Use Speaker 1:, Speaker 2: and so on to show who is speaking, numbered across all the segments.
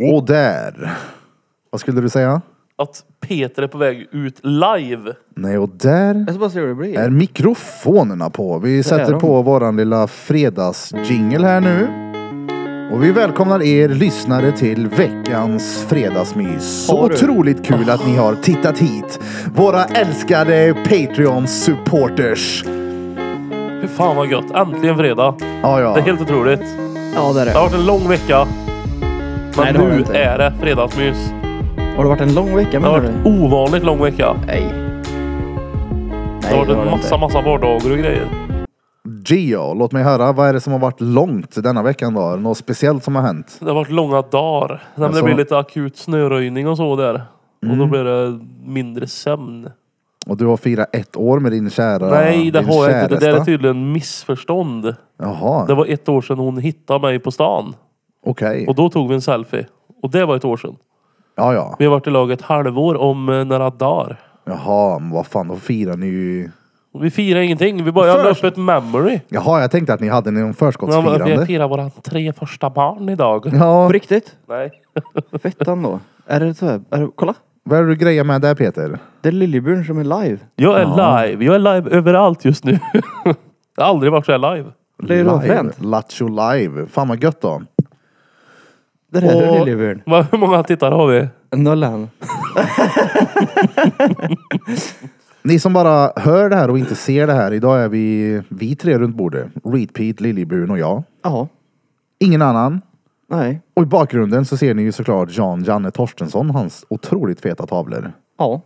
Speaker 1: Eh.
Speaker 2: Och där. Vad skulle du säga?
Speaker 1: Att Peter är på väg ut live.
Speaker 2: Nej, och där
Speaker 3: Jag ska bara se hur det blir.
Speaker 2: är mikrofonerna på. Vi
Speaker 3: är
Speaker 2: sätter
Speaker 3: de.
Speaker 2: på våran lilla fredagsjingle här nu. Och vi välkomnar er lyssnare till veckans fredagsmys. Så
Speaker 3: Har du?
Speaker 2: otroligt kul att ni har tittat hit. Våra älskade Patreon-supporters.
Speaker 1: Fy fan vad gött. Äntligen fredag.
Speaker 2: Ja,
Speaker 1: Det är
Speaker 2: ja.
Speaker 1: helt otroligt.
Speaker 3: Ja, det är det.
Speaker 1: Det har varit en lång vecka. Men
Speaker 3: Nej, det har det
Speaker 1: nu
Speaker 3: inte.
Speaker 1: är det fredagsmys.
Speaker 3: Har det varit en lång vecka
Speaker 1: Det har
Speaker 3: menar du?
Speaker 1: varit ovanligt lång vecka.
Speaker 3: Nej.
Speaker 1: Det har varit en massa,
Speaker 3: inte.
Speaker 1: massa vardagar och grejer.
Speaker 2: Gio, låt mig höra. Vad är det som har varit långt denna veckan då? Är det Något speciellt som har hänt?
Speaker 1: Det har varit långa dagar. Nej, men Det
Speaker 2: Alltså-
Speaker 1: blir lite akut snöröjning och så där. Och då blir det mindre sömn.
Speaker 2: Och du har firat ett år med din kära...
Speaker 1: Nej, det
Speaker 2: din
Speaker 1: har jag inte. Det där är
Speaker 2: käresta.
Speaker 1: tydligen missförstånd.
Speaker 2: Jaha,
Speaker 1: Det var ett år sedan hon hittade mig på stan.
Speaker 2: okej.
Speaker 1: Och då tog vi en selfie. Och det var ett år sedan.
Speaker 2: Ja, ja.
Speaker 1: Vi har varit i lag ett halvår om eh, några dagar.
Speaker 2: Jaha, men vad fan, då firar ni ju...
Speaker 1: Och vi firar ingenting. Vi bara, jag la upp ett memory.
Speaker 2: Jaha, jag tänkte att ni hade någon
Speaker 1: Ja, men Vi
Speaker 2: förskottsfirande.
Speaker 1: firar våra tre första barn idag.
Speaker 2: Ja,
Speaker 3: eh, På riktigt?
Speaker 1: Nej.
Speaker 3: Fett ändå. Är det så här? Är det, kolla!
Speaker 2: vad är det du grejer med där Peter?
Speaker 3: Det är Lillebjörn som är live.
Speaker 1: Jag är live. Jag är live överallt just nu. jag har aldrig varit så här live.
Speaker 3: Det är då
Speaker 2: live.
Speaker 3: fränt.
Speaker 2: Lattjo live. Fan vad gött då.
Speaker 3: Det här är
Speaker 1: Och-
Speaker 3: Lillebjörn.
Speaker 1: Vad- Hur många tittare har vi?
Speaker 3: Nollan.
Speaker 2: Ni som bara hör det här och inte ser det här. Idag är vi, vi tre runt bordet. Reed, Pete, Liljebrun och jag.
Speaker 3: Ja.
Speaker 2: Ingen annan.
Speaker 3: Nej.
Speaker 2: Och i bakgrunden så ser ni ju såklart Jan Janne Torstensson, hans otroligt feta tavlor.
Speaker 3: Ja.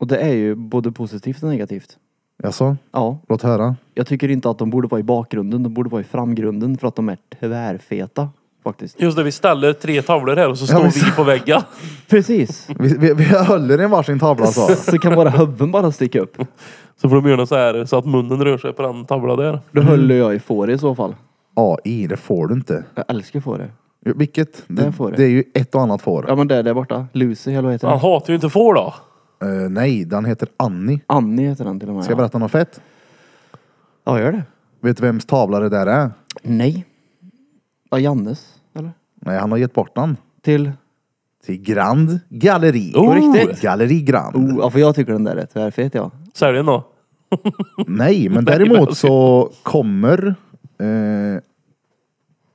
Speaker 3: Och det är ju både positivt och negativt.
Speaker 2: Jaså?
Speaker 3: Ja.
Speaker 2: Låt höra.
Speaker 3: Jag tycker inte att de borde vara i bakgrunden. De borde vara i framgrunden för att de är tvärfeta. Faktiskt.
Speaker 1: Just det, vi ställer tre tavlor här och så står
Speaker 2: men
Speaker 1: vi på väggen.
Speaker 3: Precis.
Speaker 2: Vi, vi, vi höll i en varsin tavla alltså. så.
Speaker 3: Alltså, Så kan bara huvuden bara sticka upp.
Speaker 1: Så får de göra så här så att munnen rör sig på den tavlan där.
Speaker 3: Då höll jag i fåre i så fall.
Speaker 2: AI, det får du inte.
Speaker 3: Jag älskar fåre.
Speaker 2: Vilket? Det,
Speaker 3: Där får du.
Speaker 2: det är ju ett och annat får.
Speaker 3: Ja men där, där borta. Lucy eller vad heter
Speaker 1: Han
Speaker 3: den?
Speaker 1: hatar ju inte får då.
Speaker 2: Eh, nej, den heter Annie.
Speaker 3: Annie heter den till och med.
Speaker 2: Ska jag berätta något fett?
Speaker 3: Ja, gör det.
Speaker 2: Vet du vems tavla det där är?
Speaker 3: Nej. Ja, Jannes. Eller?
Speaker 2: Nej, han har gett bort den.
Speaker 3: Till?
Speaker 2: Till Grand Galleri.
Speaker 1: Oh. På riktigt?
Speaker 2: Galleri Grand.
Speaker 3: Oh, ja, för jag tycker den där är tvärfet ja.
Speaker 1: Sälj den då.
Speaker 2: Nej, men däremot så kommer eh,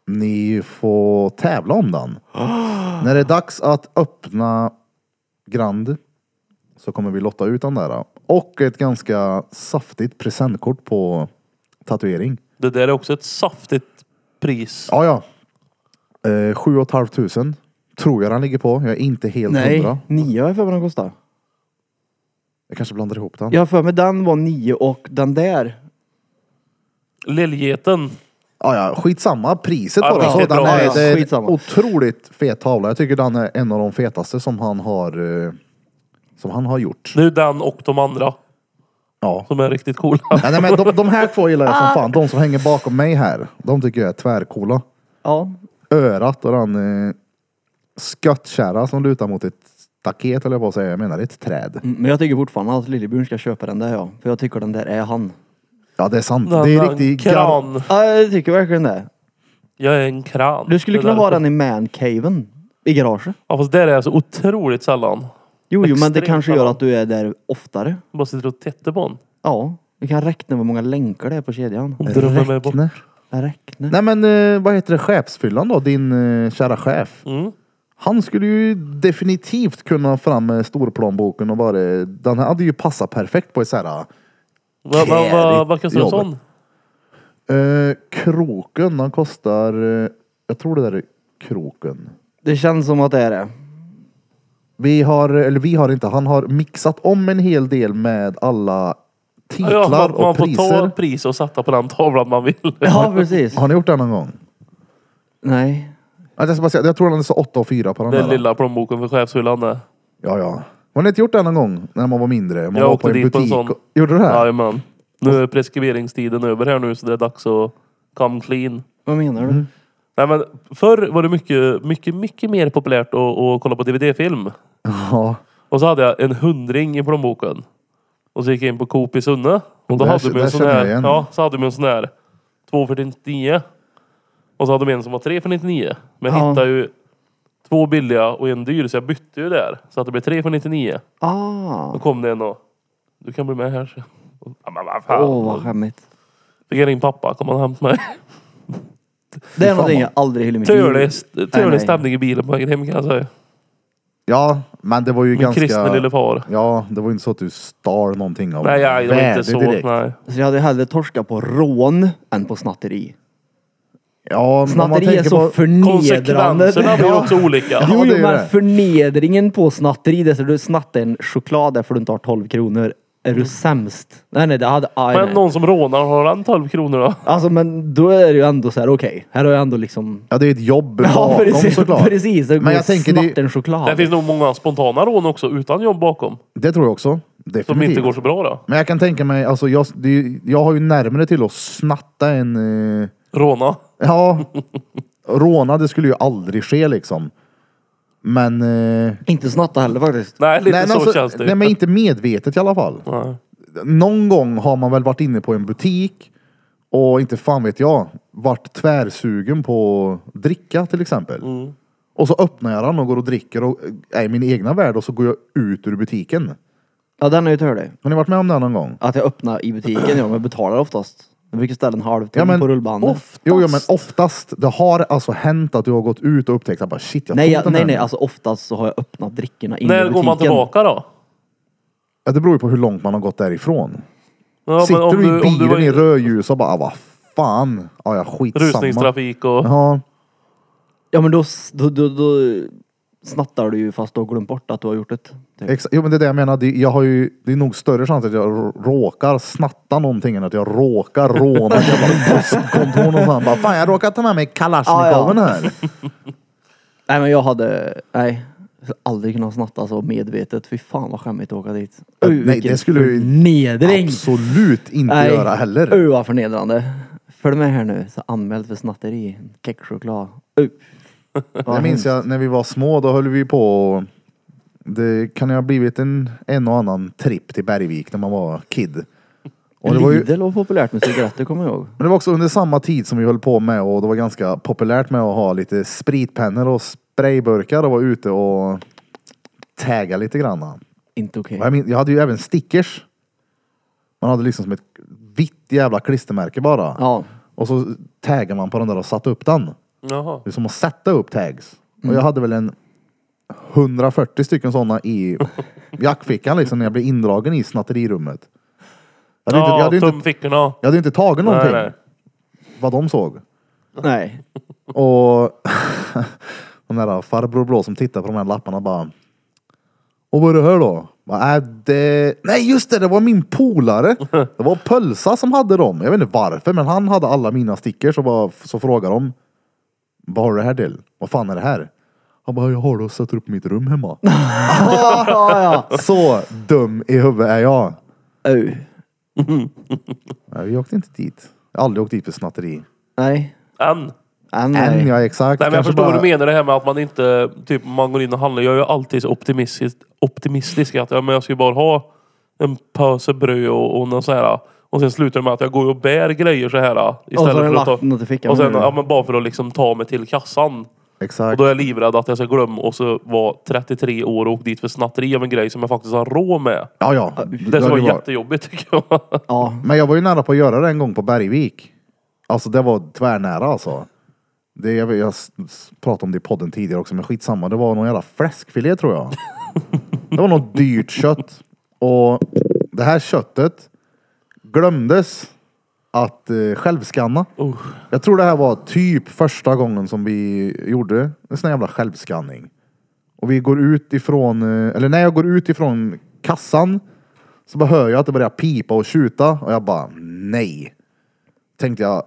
Speaker 2: ni få tävla om den. När det är dags att öppna Grand så kommer vi lotta ut den där. Och ett ganska saftigt presentkort på tatuering.
Speaker 1: Det där är också ett saftigt pris.
Speaker 2: Ja, ja. Eh, sju och ett halvt tusen tror jag den ligger på. Jag är inte helt
Speaker 3: Nej,
Speaker 2: hundra.
Speaker 3: nio har jag för mig den kostar.
Speaker 2: Jag kanske blandar ihop den.
Speaker 3: Jag har för mig den var nio och den där.
Speaker 1: Liljeten.
Speaker 2: Ja, ja, skitsamma priset
Speaker 1: Ja,
Speaker 2: på den. Så
Speaker 1: vilket
Speaker 2: den
Speaker 1: bra.
Speaker 2: är,
Speaker 3: Ja,
Speaker 2: det är en
Speaker 3: skitsamma.
Speaker 2: otroligt fet tavla. Jag tycker den är en av de fetaste som han har, eh, som han har gjort.
Speaker 1: Det är ju den och de andra
Speaker 2: Ja.
Speaker 1: som är riktigt coola.
Speaker 2: Ja, nej, men de, de här två gillar jag som fan. De som hänger bakom mig här. De tycker jag är tvärcoola.
Speaker 3: Ja,
Speaker 2: Örat och den eh, skottkärra som lutar mot ett staket eller vad säger jag? Jag menar ett träd.
Speaker 3: mm, men jag tycker fortfarande att Lillebjörn ska köpa den där ja. För jag tycker den där är han.
Speaker 2: Ja det är sant.
Speaker 1: Den,
Speaker 2: det är
Speaker 1: den
Speaker 2: riktigt gar-
Speaker 1: kran.
Speaker 3: Ja, jag tycker verkligen det.
Speaker 1: Jag är en kran.
Speaker 3: Du skulle
Speaker 1: Det
Speaker 3: kunna
Speaker 1: där-
Speaker 3: ha den i mancaven. I garaget.
Speaker 1: Ja fast där är jag så otroligt sällan.
Speaker 3: Jo, jo, men det
Speaker 1: Extremt
Speaker 3: kanske gör
Speaker 1: sällan.
Speaker 3: att du är där oftare.
Speaker 1: Jag bara sitter och tittar på den.
Speaker 3: Ja, du kan räkna hur många länkar det är på kedjan.
Speaker 1: Hon drömmer mig bort.
Speaker 2: Räkne.
Speaker 3: Räkna.
Speaker 2: Nej men eh, vad heter det, chefsfyllan då? Din eh, kära chef.
Speaker 1: Mm.
Speaker 2: Han skulle ju definitivt kunna fram med storplånboken och bara, den här hade ju passat perfekt på eh. ett såhär,
Speaker 1: Vad va, va, vad kostar en
Speaker 2: Jobbet.
Speaker 1: sån?
Speaker 2: eh, kroken, den kostar, eh, jag tror det där är kroken.
Speaker 3: Det känns som att det är det.
Speaker 2: Vi har, eller vi har inte, han har mixat om en hel del med alla titlar
Speaker 1: Ja, man, man
Speaker 2: och
Speaker 1: får ta
Speaker 2: priser.
Speaker 1: ett pris och sätta på den tavlan man vill.
Speaker 3: Ja, precis.
Speaker 2: Har ni gjort det någon gång?
Speaker 3: Nej.
Speaker 2: Att Jag, ska bara säga, jag tror han är så 8 och 4 på den
Speaker 1: Den
Speaker 2: där.
Speaker 1: lilla plånboken för chefshyllan där.
Speaker 2: Ja, ja. Har ni inte gjort det någon gång när man var mindre? Man
Speaker 1: Jag
Speaker 2: var
Speaker 1: åkte dit på en sån.
Speaker 2: och- Gjorde du det? Här?
Speaker 1: Jajamän. Nu är preskriberingstiden över här nu så det är dags att come clean.
Speaker 3: Vad menar du?
Speaker 2: Mm.
Speaker 1: Nej, men förr var det mycket, mycket, mycket mer populärt att, att kolla på DVD-film.
Speaker 2: Ja.
Speaker 1: Och så hade jag en hundring i plånboken. Och så gick jag in på Coop i Sunne. Och då
Speaker 2: Där-
Speaker 1: hade de
Speaker 2: där
Speaker 1: en sån
Speaker 2: känner jag
Speaker 1: här.
Speaker 2: igen.
Speaker 1: Ja, så hade de en sån här. 2 för 99. Och så hade de en som var 3 för 99. Men jag
Speaker 3: Ja.
Speaker 1: hittade ju Två billiga och en dyr, så jag bytte ju där. Så att det blev tre för 99.
Speaker 3: Ah!
Speaker 1: Då kom det en och... Du kan bli med här. så. Ja, men vad
Speaker 3: Åh,
Speaker 1: fan.
Speaker 3: vad skämmigt.
Speaker 1: Fick jag ringa pappa, kom han och hämta mig.
Speaker 3: Det är
Speaker 2: fan
Speaker 3: någonting
Speaker 2: vad-
Speaker 3: jag aldrig hyller i mitt
Speaker 1: Törlig
Speaker 3: liv.
Speaker 1: st-
Speaker 3: Nej, nej.
Speaker 1: törlig stämning i bilen på vägen hem kan jag säga.
Speaker 2: Ja, men det var ju
Speaker 1: Min
Speaker 2: ganska...
Speaker 1: kristne lille far.
Speaker 2: Ja, det var ju inte så att du stal någonting av
Speaker 1: Nej, jag, det var inte
Speaker 2: värde
Speaker 1: så.
Speaker 2: direkt.
Speaker 1: Nej.
Speaker 3: Så jag hade hellre torskat på rån än på snatteri.
Speaker 2: Ja, men om man
Speaker 3: Snatteri är
Speaker 2: tänker
Speaker 3: så
Speaker 2: på...
Speaker 1: Konsekvenserna blir
Speaker 3: förnedrande.
Speaker 1: också olika.
Speaker 2: Ja,
Speaker 3: Jo,
Speaker 2: det
Speaker 3: jo
Speaker 2: är
Speaker 3: men
Speaker 2: det.
Speaker 3: förnedringen på snatteri, det är så du snattar en choklad därför du inte har 12 kronor. Är
Speaker 2: Mm.
Speaker 3: du sämst? Nej, nej, det hade... Aj,
Speaker 1: Men
Speaker 3: nej.
Speaker 1: någon som rånar, har han 12 kronor då?
Speaker 3: Alltså, men då är det ju ändå så här, okej, här har jag ändå liksom...
Speaker 2: Ja, det är ett jobb
Speaker 3: Ja,
Speaker 2: bakom
Speaker 3: precis.
Speaker 2: såklart.
Speaker 3: precis. Jag
Speaker 2: Men jag tänker,
Speaker 3: snatta
Speaker 2: det,
Speaker 3: en choklad.
Speaker 1: Det finns nog många spontana rån också utan jobb bakom.
Speaker 2: det tror jag också. Definitivt.
Speaker 1: Som inte går så bra då.
Speaker 2: Men jag kan tänka mig, alltså jag, det, är ju- jag har ju närmare till att snatta en... Eh,
Speaker 1: Råna.
Speaker 2: ja, råna det skulle ju aldrig ske liksom. Men... Eh,
Speaker 3: Inte snatta heller faktiskt.
Speaker 1: Nej, lite
Speaker 2: men
Speaker 1: så
Speaker 2: alltså,
Speaker 1: känns det.
Speaker 2: Nej, men inte medvetet i alla fall.
Speaker 1: Nej.
Speaker 2: Någon gång har man väl varit inne på en butik och inte fan vet jag, varit tvärsugen på dricka till exempel. Och så öppnar jag den och går och dricker och är i min egna värld och så går jag ut ur butiken.
Speaker 3: Ja, den är ju törlig.
Speaker 2: Har ni varit med om det här någon gång?
Speaker 3: Att jag öppnar i butiken, ja, men jag betalar oftast. Jag brukar ställa en halv
Speaker 2: Ja,
Speaker 3: ja,
Speaker 2: men
Speaker 3: på rullbandet.
Speaker 1: oftast.
Speaker 2: Jo, jo, men oftast. Det har alltså hänt att du har gått ut och upptäckt att bara shit, jag
Speaker 3: nej,
Speaker 2: tog
Speaker 3: jag,
Speaker 2: den
Speaker 3: nej,
Speaker 2: här.
Speaker 3: nej, alltså oftast så har jag öppnat drickorna inne i
Speaker 1: När
Speaker 3: butiken.
Speaker 1: går man tillbaka då?
Speaker 2: Ja, det beror ju på hur långt man har gått därifrån.
Speaker 1: Ja, men
Speaker 2: Sitter
Speaker 1: om
Speaker 2: du i
Speaker 1: om
Speaker 2: bilen
Speaker 1: var
Speaker 2: i rödljus och bara, ah, vad fan. Ja, ja, skitsamma.
Speaker 1: Rusningstrafik och...
Speaker 2: Ja,
Speaker 3: Ja, men då, s- då, då, då snattar du ju fast du har glömt bort att du har gjort det. Typ.
Speaker 2: exa- jo, men det är det jag menar. Det, jag har ju, det är nog större chans att jag r- råkar snatta någonting än att jag råkar råna ett jävla postkontor någonstans. Bara, fan, jag råkar ta med mig kalasjnikoven
Speaker 3: Ja,
Speaker 2: här.
Speaker 3: Nej, men jag hade... Nej. Jag skulle aldrig kunnat snatta så medvetet. Fy fan vad skämmigt att åka dit.
Speaker 2: Ja, nej, det skulle du ju
Speaker 3: Nedring!
Speaker 2: Absolut inte göra heller.
Speaker 3: Uh, vad förnedrande. Följ med här nu. Så anmäld för snatteri. Kexchoklad. Uh.
Speaker 2: Det minns jag när vi var små, då höll vi på och- Det kan ju ha blivit en, en och annan tripp till Bergvik när man var kid. Och det var ju,
Speaker 3: Lidl var populärt med cigaretter kommer jag ihåg.
Speaker 2: men det var också under samma tid som vi höll på med och det var ganska populärt med att ha lite spritpennor och sprayburkar och vara ute och tagga lite grann.
Speaker 3: Inte okej.
Speaker 2: Och Jag, min, jag hade ju även stickers. Man hade liksom som ett vitt jävla klistermärke bara.
Speaker 3: Ja.
Speaker 2: Och så taggade man på den där och satte upp den.
Speaker 1: Jaha.
Speaker 2: Det är som att sätta upp tags. Och jag
Speaker 1: Mm.
Speaker 2: hade väl en 140 stycken sådana i jackfickan liksom när jag blev indragen i snatterirummet. Jag hade,
Speaker 1: Ja,
Speaker 2: inte, jag hade, inte,
Speaker 1: tumfickorna.
Speaker 2: jag hade inte tagit någonting
Speaker 1: Nej, nej.
Speaker 2: vad de såg.
Speaker 3: Nej.
Speaker 2: Och den där farbror blå som tittar på de här lapparna bara. Och vad är det här då? Bara, "Äh, det... Nej just det, det var min polare. Det var Pölsa som hade dem. Jag vet inte varför men han hade alla mina stickers och bara, så frågade de. Vad har du det här till? Vad fan är det här? Han bara, jag har det och sätter upp i mitt rum hemma.
Speaker 3: Ja, ja,
Speaker 2: så dum i huvudet är jag.
Speaker 3: ja. Uh.
Speaker 2: Nej, vi åkte inte dit. Jag har aldrig åkt dit för snatteri.
Speaker 3: Nej.
Speaker 1: Än.
Speaker 3: Äh,
Speaker 2: Än
Speaker 3: nej.
Speaker 2: ja, exakt.
Speaker 1: Nej, men jag
Speaker 2: Kanske
Speaker 1: förstår
Speaker 2: bara-
Speaker 1: vad du menar det här med att man inte, typ man går in och handlar. Jag är ju alltid så optimistisk, optimistisk att ja, men jag ska ju bara ha en påse bröd och, och någon så här. Och sen slutar det med att jag går och bär grejer så här.
Speaker 3: Och så
Speaker 1: Istället
Speaker 3: har jag
Speaker 1: för att
Speaker 3: lagt
Speaker 1: ta,
Speaker 3: något i fickan.
Speaker 1: och sen,
Speaker 3: nu.
Speaker 1: ja, men bara för att liksom ta mig till kassan. Och
Speaker 2: Exakt.
Speaker 1: då är jag livrädd att jag ska glömma och så vara 33 år och åka dit för snatteri av en grej som jag faktiskt har råd med.
Speaker 2: Ja, ja.
Speaker 1: Det som var
Speaker 2: var-
Speaker 1: jättejobbigt tycker jag.
Speaker 3: ja.
Speaker 2: Men jag var ju nära på att göra det en gång på Bergvik. Alltså det var tvärnära alltså. Det, jag, jag s- s- pratade om det i podden tidigare också, men skitsamma. Det var någon jävla fläskfilé tror jag. det var något dyrt kött. Och det här köttet glömdes att eh, självskanna.
Speaker 1: Oh.
Speaker 2: Jag tror det här var typ första gången som vi gjorde en sån här jävla självskanning. Och vi går ut ifrån, eh, eller när jag går ut ifrån kassan så bara hör jag att det börjar pipa och tjuta och jag bara nej. Tänkte jag,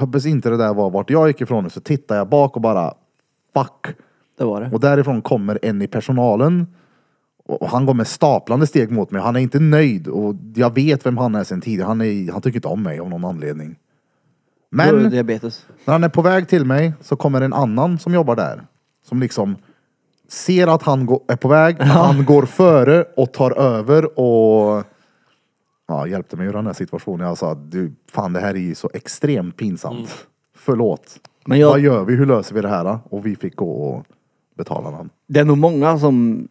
Speaker 2: hoppas inte det där var vart jag gick ifrån så tittar jag bak och bara fuck.
Speaker 3: Det var det.
Speaker 2: Och därifrån kommer en i personalen. Och han går med staplande steg mot mig. Han är inte nöjd och jag vet vem han är sen tidigare. Han, är, han tycker inte om mig av någon anledning.
Speaker 3: Då är det
Speaker 2: Men
Speaker 3: Diabetes.
Speaker 2: när han är på väg till mig så kommer en annan som jobbar där. Som liksom ser att han gå- är på väg, att han går före och tar över och ja, hjälpte mig ur den här situationen. Jag sa, du, fan det här är ju så
Speaker 3: Mm.
Speaker 2: extremt pinsamt. Förlåt.
Speaker 3: Men
Speaker 2: Vad
Speaker 3: jag,
Speaker 2: gör vi? Hur löser vi det här? då?" Och vi fick gå och betalar han.
Speaker 3: Det är nog många som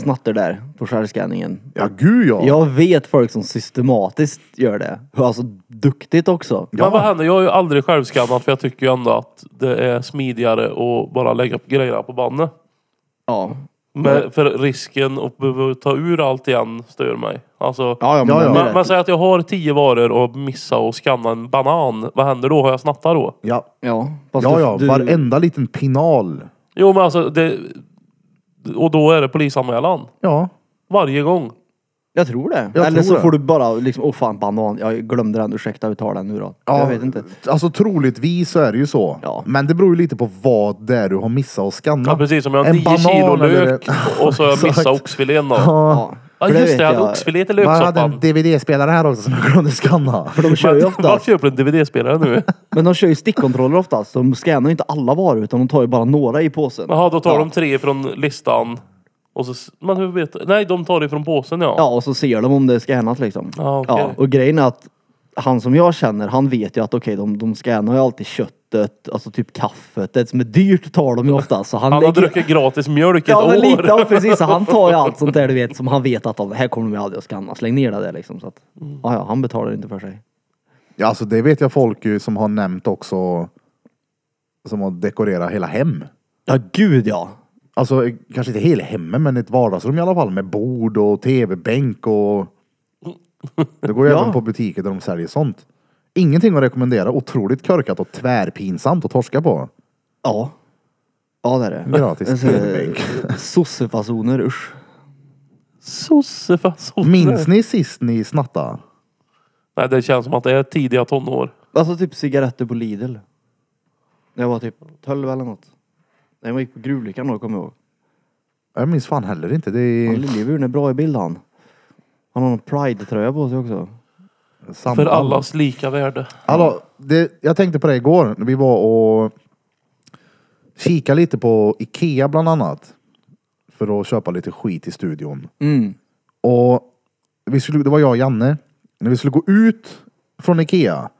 Speaker 3: snattar där på självskanningen.
Speaker 2: Ja, gud ja.
Speaker 3: Jag vet folk som systematiskt gör det. Alltså duktigt också.
Speaker 1: Men vad händer? Jag har ju aldrig självskannat för jag tycker ju ändå att det är smidigare att bara lägga upp grejerna på bandet.
Speaker 3: Ja.
Speaker 1: Men för risken att behöva ta ur allt igen stör mig. Alltså,
Speaker 3: Ja, ja, men,
Speaker 2: Ja, ja.
Speaker 3: den är
Speaker 1: man,
Speaker 3: rätt.
Speaker 1: man säger att jag har tio varor och missar och skanna en banan. Vad händer då? Har jag snattat då?
Speaker 2: Ja,
Speaker 3: ja. Fast
Speaker 2: ja,
Speaker 3: du-
Speaker 2: ja.
Speaker 3: Alltså, du-
Speaker 2: varenda liten pinal.
Speaker 1: Jo men alltså det... Och då är det polisanmälan.
Speaker 2: Ja,
Speaker 1: Varje gång.
Speaker 3: Jag tror det.
Speaker 2: Jag
Speaker 3: Eller
Speaker 2: tror
Speaker 3: så
Speaker 2: det.
Speaker 3: får du bara liksom, åh fan banan, jag glömde den, ursäkta hur tar den nu då?
Speaker 2: ja.
Speaker 3: Jag vet inte.
Speaker 2: Alltså troligtvis så är det ju så.
Speaker 3: Ja.
Speaker 2: Men det beror ju lite på vad det är du har missat att skanna.
Speaker 1: Ja, precis, som jag har
Speaker 2: En
Speaker 1: 10
Speaker 2: banan
Speaker 1: kilo
Speaker 2: eller-
Speaker 1: lök och så har jag missat
Speaker 2: Exakt.
Speaker 1: oxfilén då.
Speaker 3: Ja,
Speaker 1: Ja
Speaker 3: För
Speaker 1: just
Speaker 3: vet
Speaker 1: det, jag hade
Speaker 3: jag.
Speaker 1: oxfilé till
Speaker 2: jag hade en
Speaker 1: löksoppan.
Speaker 2: DVD-spelare här också som jag glömde skanna.
Speaker 3: För de kör ju
Speaker 1: Vart
Speaker 3: oftast,
Speaker 1: köper du en DVD-spelare nu?
Speaker 3: men de kör ju stickkontroller oftast. De scannar ju inte alla varor utan de tar ju bara några i påsen.
Speaker 1: Jaha, då tar
Speaker 3: Ja.
Speaker 1: de tre från listan. Och så, s- men hur vet Nej, de tar det från påsen ja.
Speaker 3: Ja, och så ser de om det scannat liksom.
Speaker 1: Ja, okej.
Speaker 3: och grejen är att han som jag känner, han vet ju att okej, de, de scannar ju alltid köttet, alltså typ kaffet. Det som är dyrt tar de ju ofta. Så
Speaker 1: Han
Speaker 3: han,
Speaker 1: har
Speaker 3: lägger-
Speaker 1: druckit gratis mjölk
Speaker 3: Ja, men
Speaker 1: ett år.
Speaker 3: lite, ja, precis. Så han tar ju allt sånt där du vet som han vet att de, här kommer de ju aldrig att scanna. Släng ner det där liksom. Så att,
Speaker 1: Mm.
Speaker 3: ja, ja, han betalar inte för sig.
Speaker 2: Ja, alltså det vet jag folk ju som har nämnt också. Som har dekorerat hela hem.
Speaker 3: Ja, gud ja.
Speaker 2: Alltså eh, kanske inte hela hemmet men ett vardagsrum i alla fall med bord och tv-bänk och... Det går ju
Speaker 3: Ja.
Speaker 2: även på butiker där de säljer sånt. Ingenting att rekommendera. Otroligt korkat och tvärpinsamt att torska på.
Speaker 3: Ja. Ja, det är det.
Speaker 2: Gratis
Speaker 3: Alltså,
Speaker 2: tv-bänk.
Speaker 3: Sossefasoner, usch.
Speaker 1: Sossefasoner.
Speaker 2: Minns ni sist ni snattade?
Speaker 1: Nej, det känns som att det är tidiga tonår.
Speaker 3: Alltså typ cigaretter på Lidl. När jag var typ 12 eller något. När jag gick på gruvlyckan då, kommer jag ihåg.
Speaker 2: Jag minns fan heller inte. Det
Speaker 3: Han
Speaker 2: är
Speaker 3: Liljeburen är bra i bild han. Han har en pride-tröja på sig också.
Speaker 2: samband.
Speaker 1: För allas lika värde.
Speaker 2: Hallå, det, jag tänkte på det igår när vi var och kikade lite på Ikea bland annat. För att köpa lite skit i studion.
Speaker 3: Mm.
Speaker 2: Och vi skulle, det var jag och Janne. När vi skulle gå ut från Ikea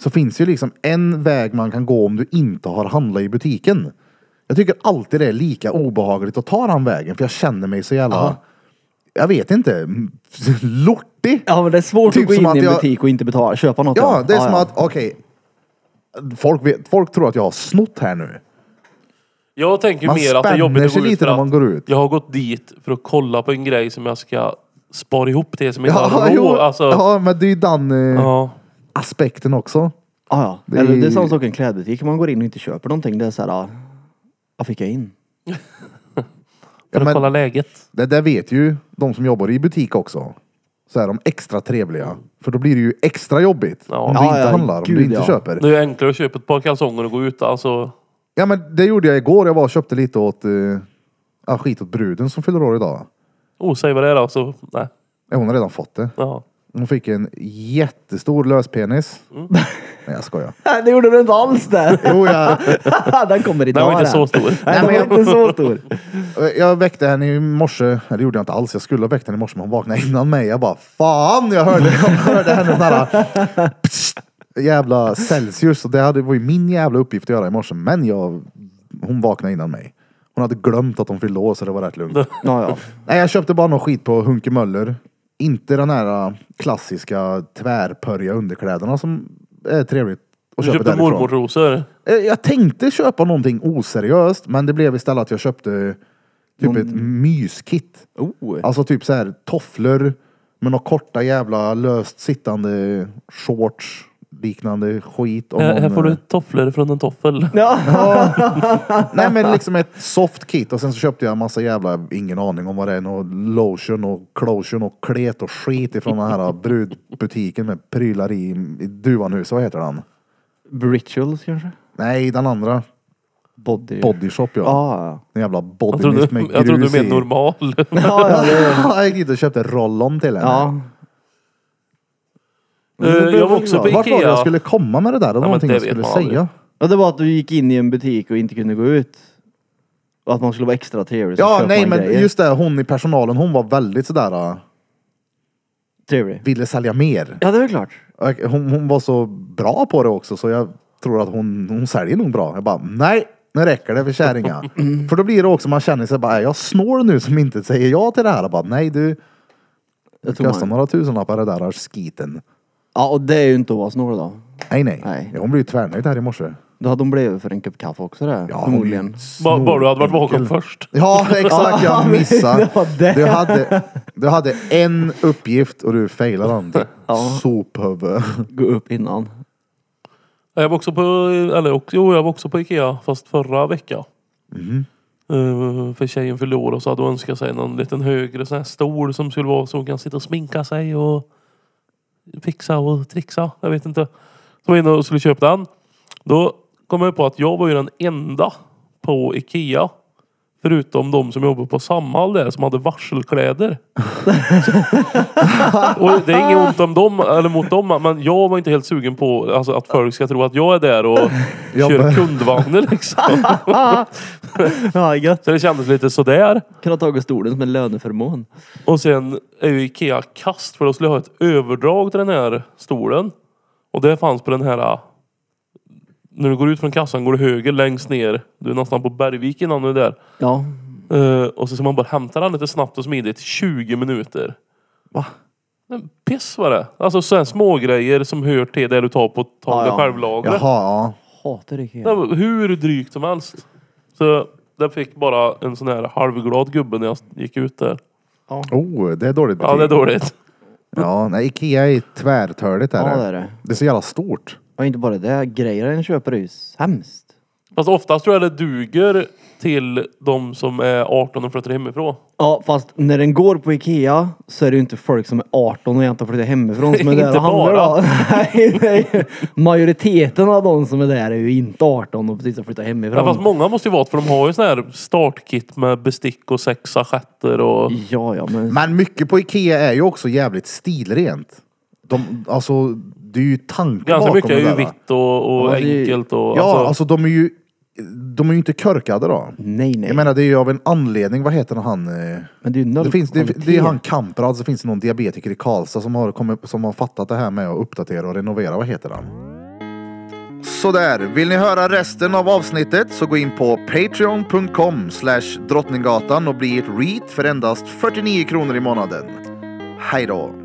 Speaker 2: så finns det ju liksom en väg man kan gå om du inte har handlat i butiken. Jag tycker alltid det är lika obehagligt att ta den vägen för jag känner mig så jävla, jag vet inte, lortig.
Speaker 3: Ja men det är svårt
Speaker 2: Typ
Speaker 3: att gå
Speaker 2: som
Speaker 3: in
Speaker 2: att
Speaker 3: i en
Speaker 2: jag-
Speaker 3: butik och inte betala, köpa något.
Speaker 2: Ja, det är
Speaker 3: Ja,
Speaker 2: som
Speaker 3: ja.
Speaker 2: att, okej. Folk, vet, folk tror att jag har snott här nu.
Speaker 1: Jag tänker
Speaker 2: Man
Speaker 1: mer att det är jobbigt
Speaker 2: spänner
Speaker 1: att gå
Speaker 2: sig
Speaker 1: ut
Speaker 2: lite
Speaker 1: för
Speaker 2: när
Speaker 1: att
Speaker 2: man går ut.
Speaker 1: Jag har gått dit för att kolla på en grej som jag ska spara ihop till som inte
Speaker 2: Ja,
Speaker 1: har råd.
Speaker 2: jo,
Speaker 1: Alltså, ja.
Speaker 2: ja men det är ju den eh, aspekten också.
Speaker 3: Ja, ja.
Speaker 2: Det är-
Speaker 3: Eller det är samma sak i en klädbutik. Om man går in och inte köper någonting. Det är så här, ja, vad fick jag in?
Speaker 1: För
Speaker 2: Ja,
Speaker 1: att
Speaker 2: men-
Speaker 1: kolla läget.
Speaker 2: Det där vet ju de som jobbar i butik också. Så är de extra trevliga. För då blir det ju extra jobbigt.
Speaker 1: Ja.
Speaker 2: Om du
Speaker 3: Ja,
Speaker 2: inte
Speaker 3: ja,
Speaker 2: handlar, om
Speaker 3: gud,
Speaker 2: du inte
Speaker 3: ja.
Speaker 2: köper.
Speaker 1: Det är ju enklare att köpa ett par kalsonger och gå ut. Alltså,
Speaker 2: Ja men det gjorde jag igår. Jag var och köpte lite åt, uh, ja, skit åt bruden som fyller år idag.
Speaker 1: oh, säg vad det är då. Så, nej.
Speaker 2: Ja, Hon har redan fått det.
Speaker 1: Ja.
Speaker 2: Hon fick en jättestor löspenis.
Speaker 1: Mm.
Speaker 2: Nej jag skojar.
Speaker 3: Nej, det gjorde du inte alls där.
Speaker 2: Jo, jag,
Speaker 3: den kommer idag.
Speaker 1: Den var inte så
Speaker 3: den.
Speaker 1: stor.
Speaker 3: Nej,
Speaker 2: Nej,
Speaker 3: den
Speaker 2: men
Speaker 3: var inte så stor.
Speaker 2: jag väckte henne i morse. Eller det gjorde jag inte alls. Jag skulle ha väckt henne i morse men hon vaknade innan mig. Jag bara fan jag hörde, jag hörde henne sån här pssst, jävla Celsius. Och det hade, var ju min jävla uppgift att göra i morse. Men jag, hon vaknade innan mig. Hon hade glömt att hon fyllde år så det var rätt lugnt.
Speaker 3: Ja, ja.
Speaker 2: Nej jag köpte bara någon skit på Hunke Möller. Inte den här äh, klassiska tvärpörja underkläderna som är trevligt att
Speaker 1: Du
Speaker 2: köpa
Speaker 1: köpte
Speaker 2: därifrån.
Speaker 1: mormorsrosor.
Speaker 2: Eh, Jag tänkte köpa någonting oseriöst, men det blev istället att jag köpte typ ett myskit.
Speaker 3: Oh.
Speaker 2: Alltså typ så här tofflor med några korta jävla löst sittande shorts liknande skit. Om
Speaker 1: Här, här
Speaker 2: någon,
Speaker 1: får
Speaker 2: eh,
Speaker 1: du tofflor från en toffel.
Speaker 3: Ja.
Speaker 2: Nej men liksom ett soft kit och sen så köpte jag en massa jävla, ingen aning om vad det är, någon lotion och clotion och klet och skit ifrån den här brudbutiken med prylar i, i Duvanhuset, vad heter den?
Speaker 3: Rituals kanske?
Speaker 2: Nej, den andra.
Speaker 3: Body.
Speaker 2: Body shop ja.
Speaker 3: Ja, ja.
Speaker 2: En jävla
Speaker 1: Jag trodde,
Speaker 2: bodymiss med grus
Speaker 1: jag trodde du
Speaker 2: i.
Speaker 1: menade normal.
Speaker 3: Ja, ja, det,
Speaker 2: jag gick dit och köpte roll-on till henne.
Speaker 3: ja.
Speaker 1: Eh,
Speaker 3: det blev
Speaker 1: jag var
Speaker 3: väl
Speaker 1: också
Speaker 3: bra.
Speaker 1: på
Speaker 2: Vart var det
Speaker 1: Ikea.
Speaker 2: jag skulle komma med det där? Det var
Speaker 1: men
Speaker 2: någonting
Speaker 1: det
Speaker 2: jag
Speaker 1: vet
Speaker 2: skulle
Speaker 1: man aldrig.
Speaker 2: säga.
Speaker 3: ja, det var att du gick in i en butik och inte kunde gå ut. Och att man skulle vara extra trevlig. så
Speaker 2: Ja,
Speaker 3: köper
Speaker 2: nej
Speaker 3: man
Speaker 2: men
Speaker 3: grejer.
Speaker 2: just det, hon i personalen hon var väldigt sådär, äh,
Speaker 3: Trevlig.
Speaker 2: ville sälja mer.
Speaker 3: Ja, det är väl klart.
Speaker 2: Och Hon, hon var så bra på det också så jag tror att hon, hon säljer nog bra. Jag bara, nej, Nu räcker det för kärringa.
Speaker 1: Mm.
Speaker 2: För då blir det också, man känner sig bara, är jag snår nu som inte säger ja till det här. Och Bara, nej du,
Speaker 3: Jag tror
Speaker 2: kostar
Speaker 3: man.
Speaker 2: några tusenlappar det där skiten.
Speaker 3: Ja, och det är ju inte att vara snorre då.
Speaker 2: Nej nej.
Speaker 3: Nej.
Speaker 2: Ja, Hon blev ju tvärnöjd här i morse.
Speaker 3: Då hade hon blivit för en kopp kaffe också det.
Speaker 2: Ja, hon är ju
Speaker 3: förmodligen.
Speaker 1: Bara
Speaker 2: snor-
Speaker 1: bara du hade varit vaken först.
Speaker 2: Ja, exakt. Jag missade.
Speaker 3: det var det.
Speaker 2: Du hade, du hade en uppgift och du failade den.
Speaker 3: Ja.
Speaker 2: Sophuvud.
Speaker 3: Gå upp innan.
Speaker 1: Jag var också på, eller också, jo, jag var också på Ikea fast förra veckan. Eh, för tjejen fyllde år och så hade hon önskat sig någon liten högre sån här stol som skulle vara så hon kan sitta och sminka sig och fixa och trixa. Jag vet inte. Så var jag inne och skulle köpa den. Då kom jag på att jag var ju den enda på Ikea. Förutom de som jobbar på Samhall där som hade varselkläder. Och det är inget ont om dem, eller mot dem, men jag var inte helt sugen på alltså, att folk ska tro att jag är där och kör
Speaker 2: Jobbar.
Speaker 1: kundvagnen liksom.
Speaker 3: Ja, gött.
Speaker 1: Så det kändes lite sådär.
Speaker 3: Kunde ha tagit stolen som en löneförmån.
Speaker 1: Och sen är ju Ikea kast för då skulle jag ha ett överdrag till den här stolen. Och det fanns på den här... äh, När du går ut från kassan går du höger längst ner. Du är nästan på Bergvik innan du är där.
Speaker 3: Ja.
Speaker 1: Eh, och så ska man bara hämta den lite snabbt och smidigt. 20 minuter.
Speaker 2: Va?
Speaker 1: Men piss var det. Alltså sådana små grejer som hör till det du tar på
Speaker 3: Ja,
Speaker 1: tag
Speaker 3: ja.
Speaker 1: och självlagret.
Speaker 2: Jaha, ja.
Speaker 3: Hatar Ikea.
Speaker 1: Det var Hur drygt som helst. Så där fick bara en sån här halvglad gubbe när jag gick ut där.
Speaker 2: Oh, det är dåligt
Speaker 1: Ja, det är dåligt.
Speaker 2: Ja, nej, Ikea är tvärtörligt.
Speaker 3: Ja,
Speaker 2: Är
Speaker 3: det
Speaker 2: det.
Speaker 3: är det.
Speaker 2: det är så jävla stort.
Speaker 3: Och inte bara det, grejer den köper är ju hemskt.
Speaker 1: Fast oftast tror jag det duger till de som är 18 och flyttar hemifrån.
Speaker 3: Ja, fast när den går på Ikea så är det ju inte folk som är 18 och egentligen flyttat hemifrån som är där
Speaker 1: Inte
Speaker 3: och handlar.
Speaker 1: bara.
Speaker 3: då. Nej, det är ju- Majoriteten av de som är där är ju inte 18 och precis har flyttat
Speaker 1: Ja, fast
Speaker 3: hemifrån.
Speaker 1: många måste ju vara för de har ju sån här startkit med bestick och sex assietter och...
Speaker 3: Ja, ja, men
Speaker 2: Men mycket på Ikea är ju också jävligt stilrent. De, alltså, det är ju tanken
Speaker 1: Ganska
Speaker 2: bakom
Speaker 1: mycket
Speaker 2: det
Speaker 1: är ju
Speaker 2: där.
Speaker 1: vitt och, och
Speaker 3: Ja, det är ju-
Speaker 1: enkelt och...
Speaker 2: Ja,
Speaker 1: alltså,
Speaker 2: alltså de är ju, de är ju inte körkade då.
Speaker 3: nej, nej.
Speaker 2: Jag menar det är ju av en anledning, vad heter han? eh,
Speaker 3: men det är ju noll
Speaker 2: Det, finns, det,
Speaker 3: kvalitet.
Speaker 2: det är han Kamprad, så finns det någon diabetiker i Karlstad som har, kommit, som har fattat det här med att uppdatera och renovera. Vad heter han? Sådär, vill ni höra resten av avsnittet så gå in på patreon.com slash drottninggatan och bli ett reat för endast 49 kronor i månaden. Hej då!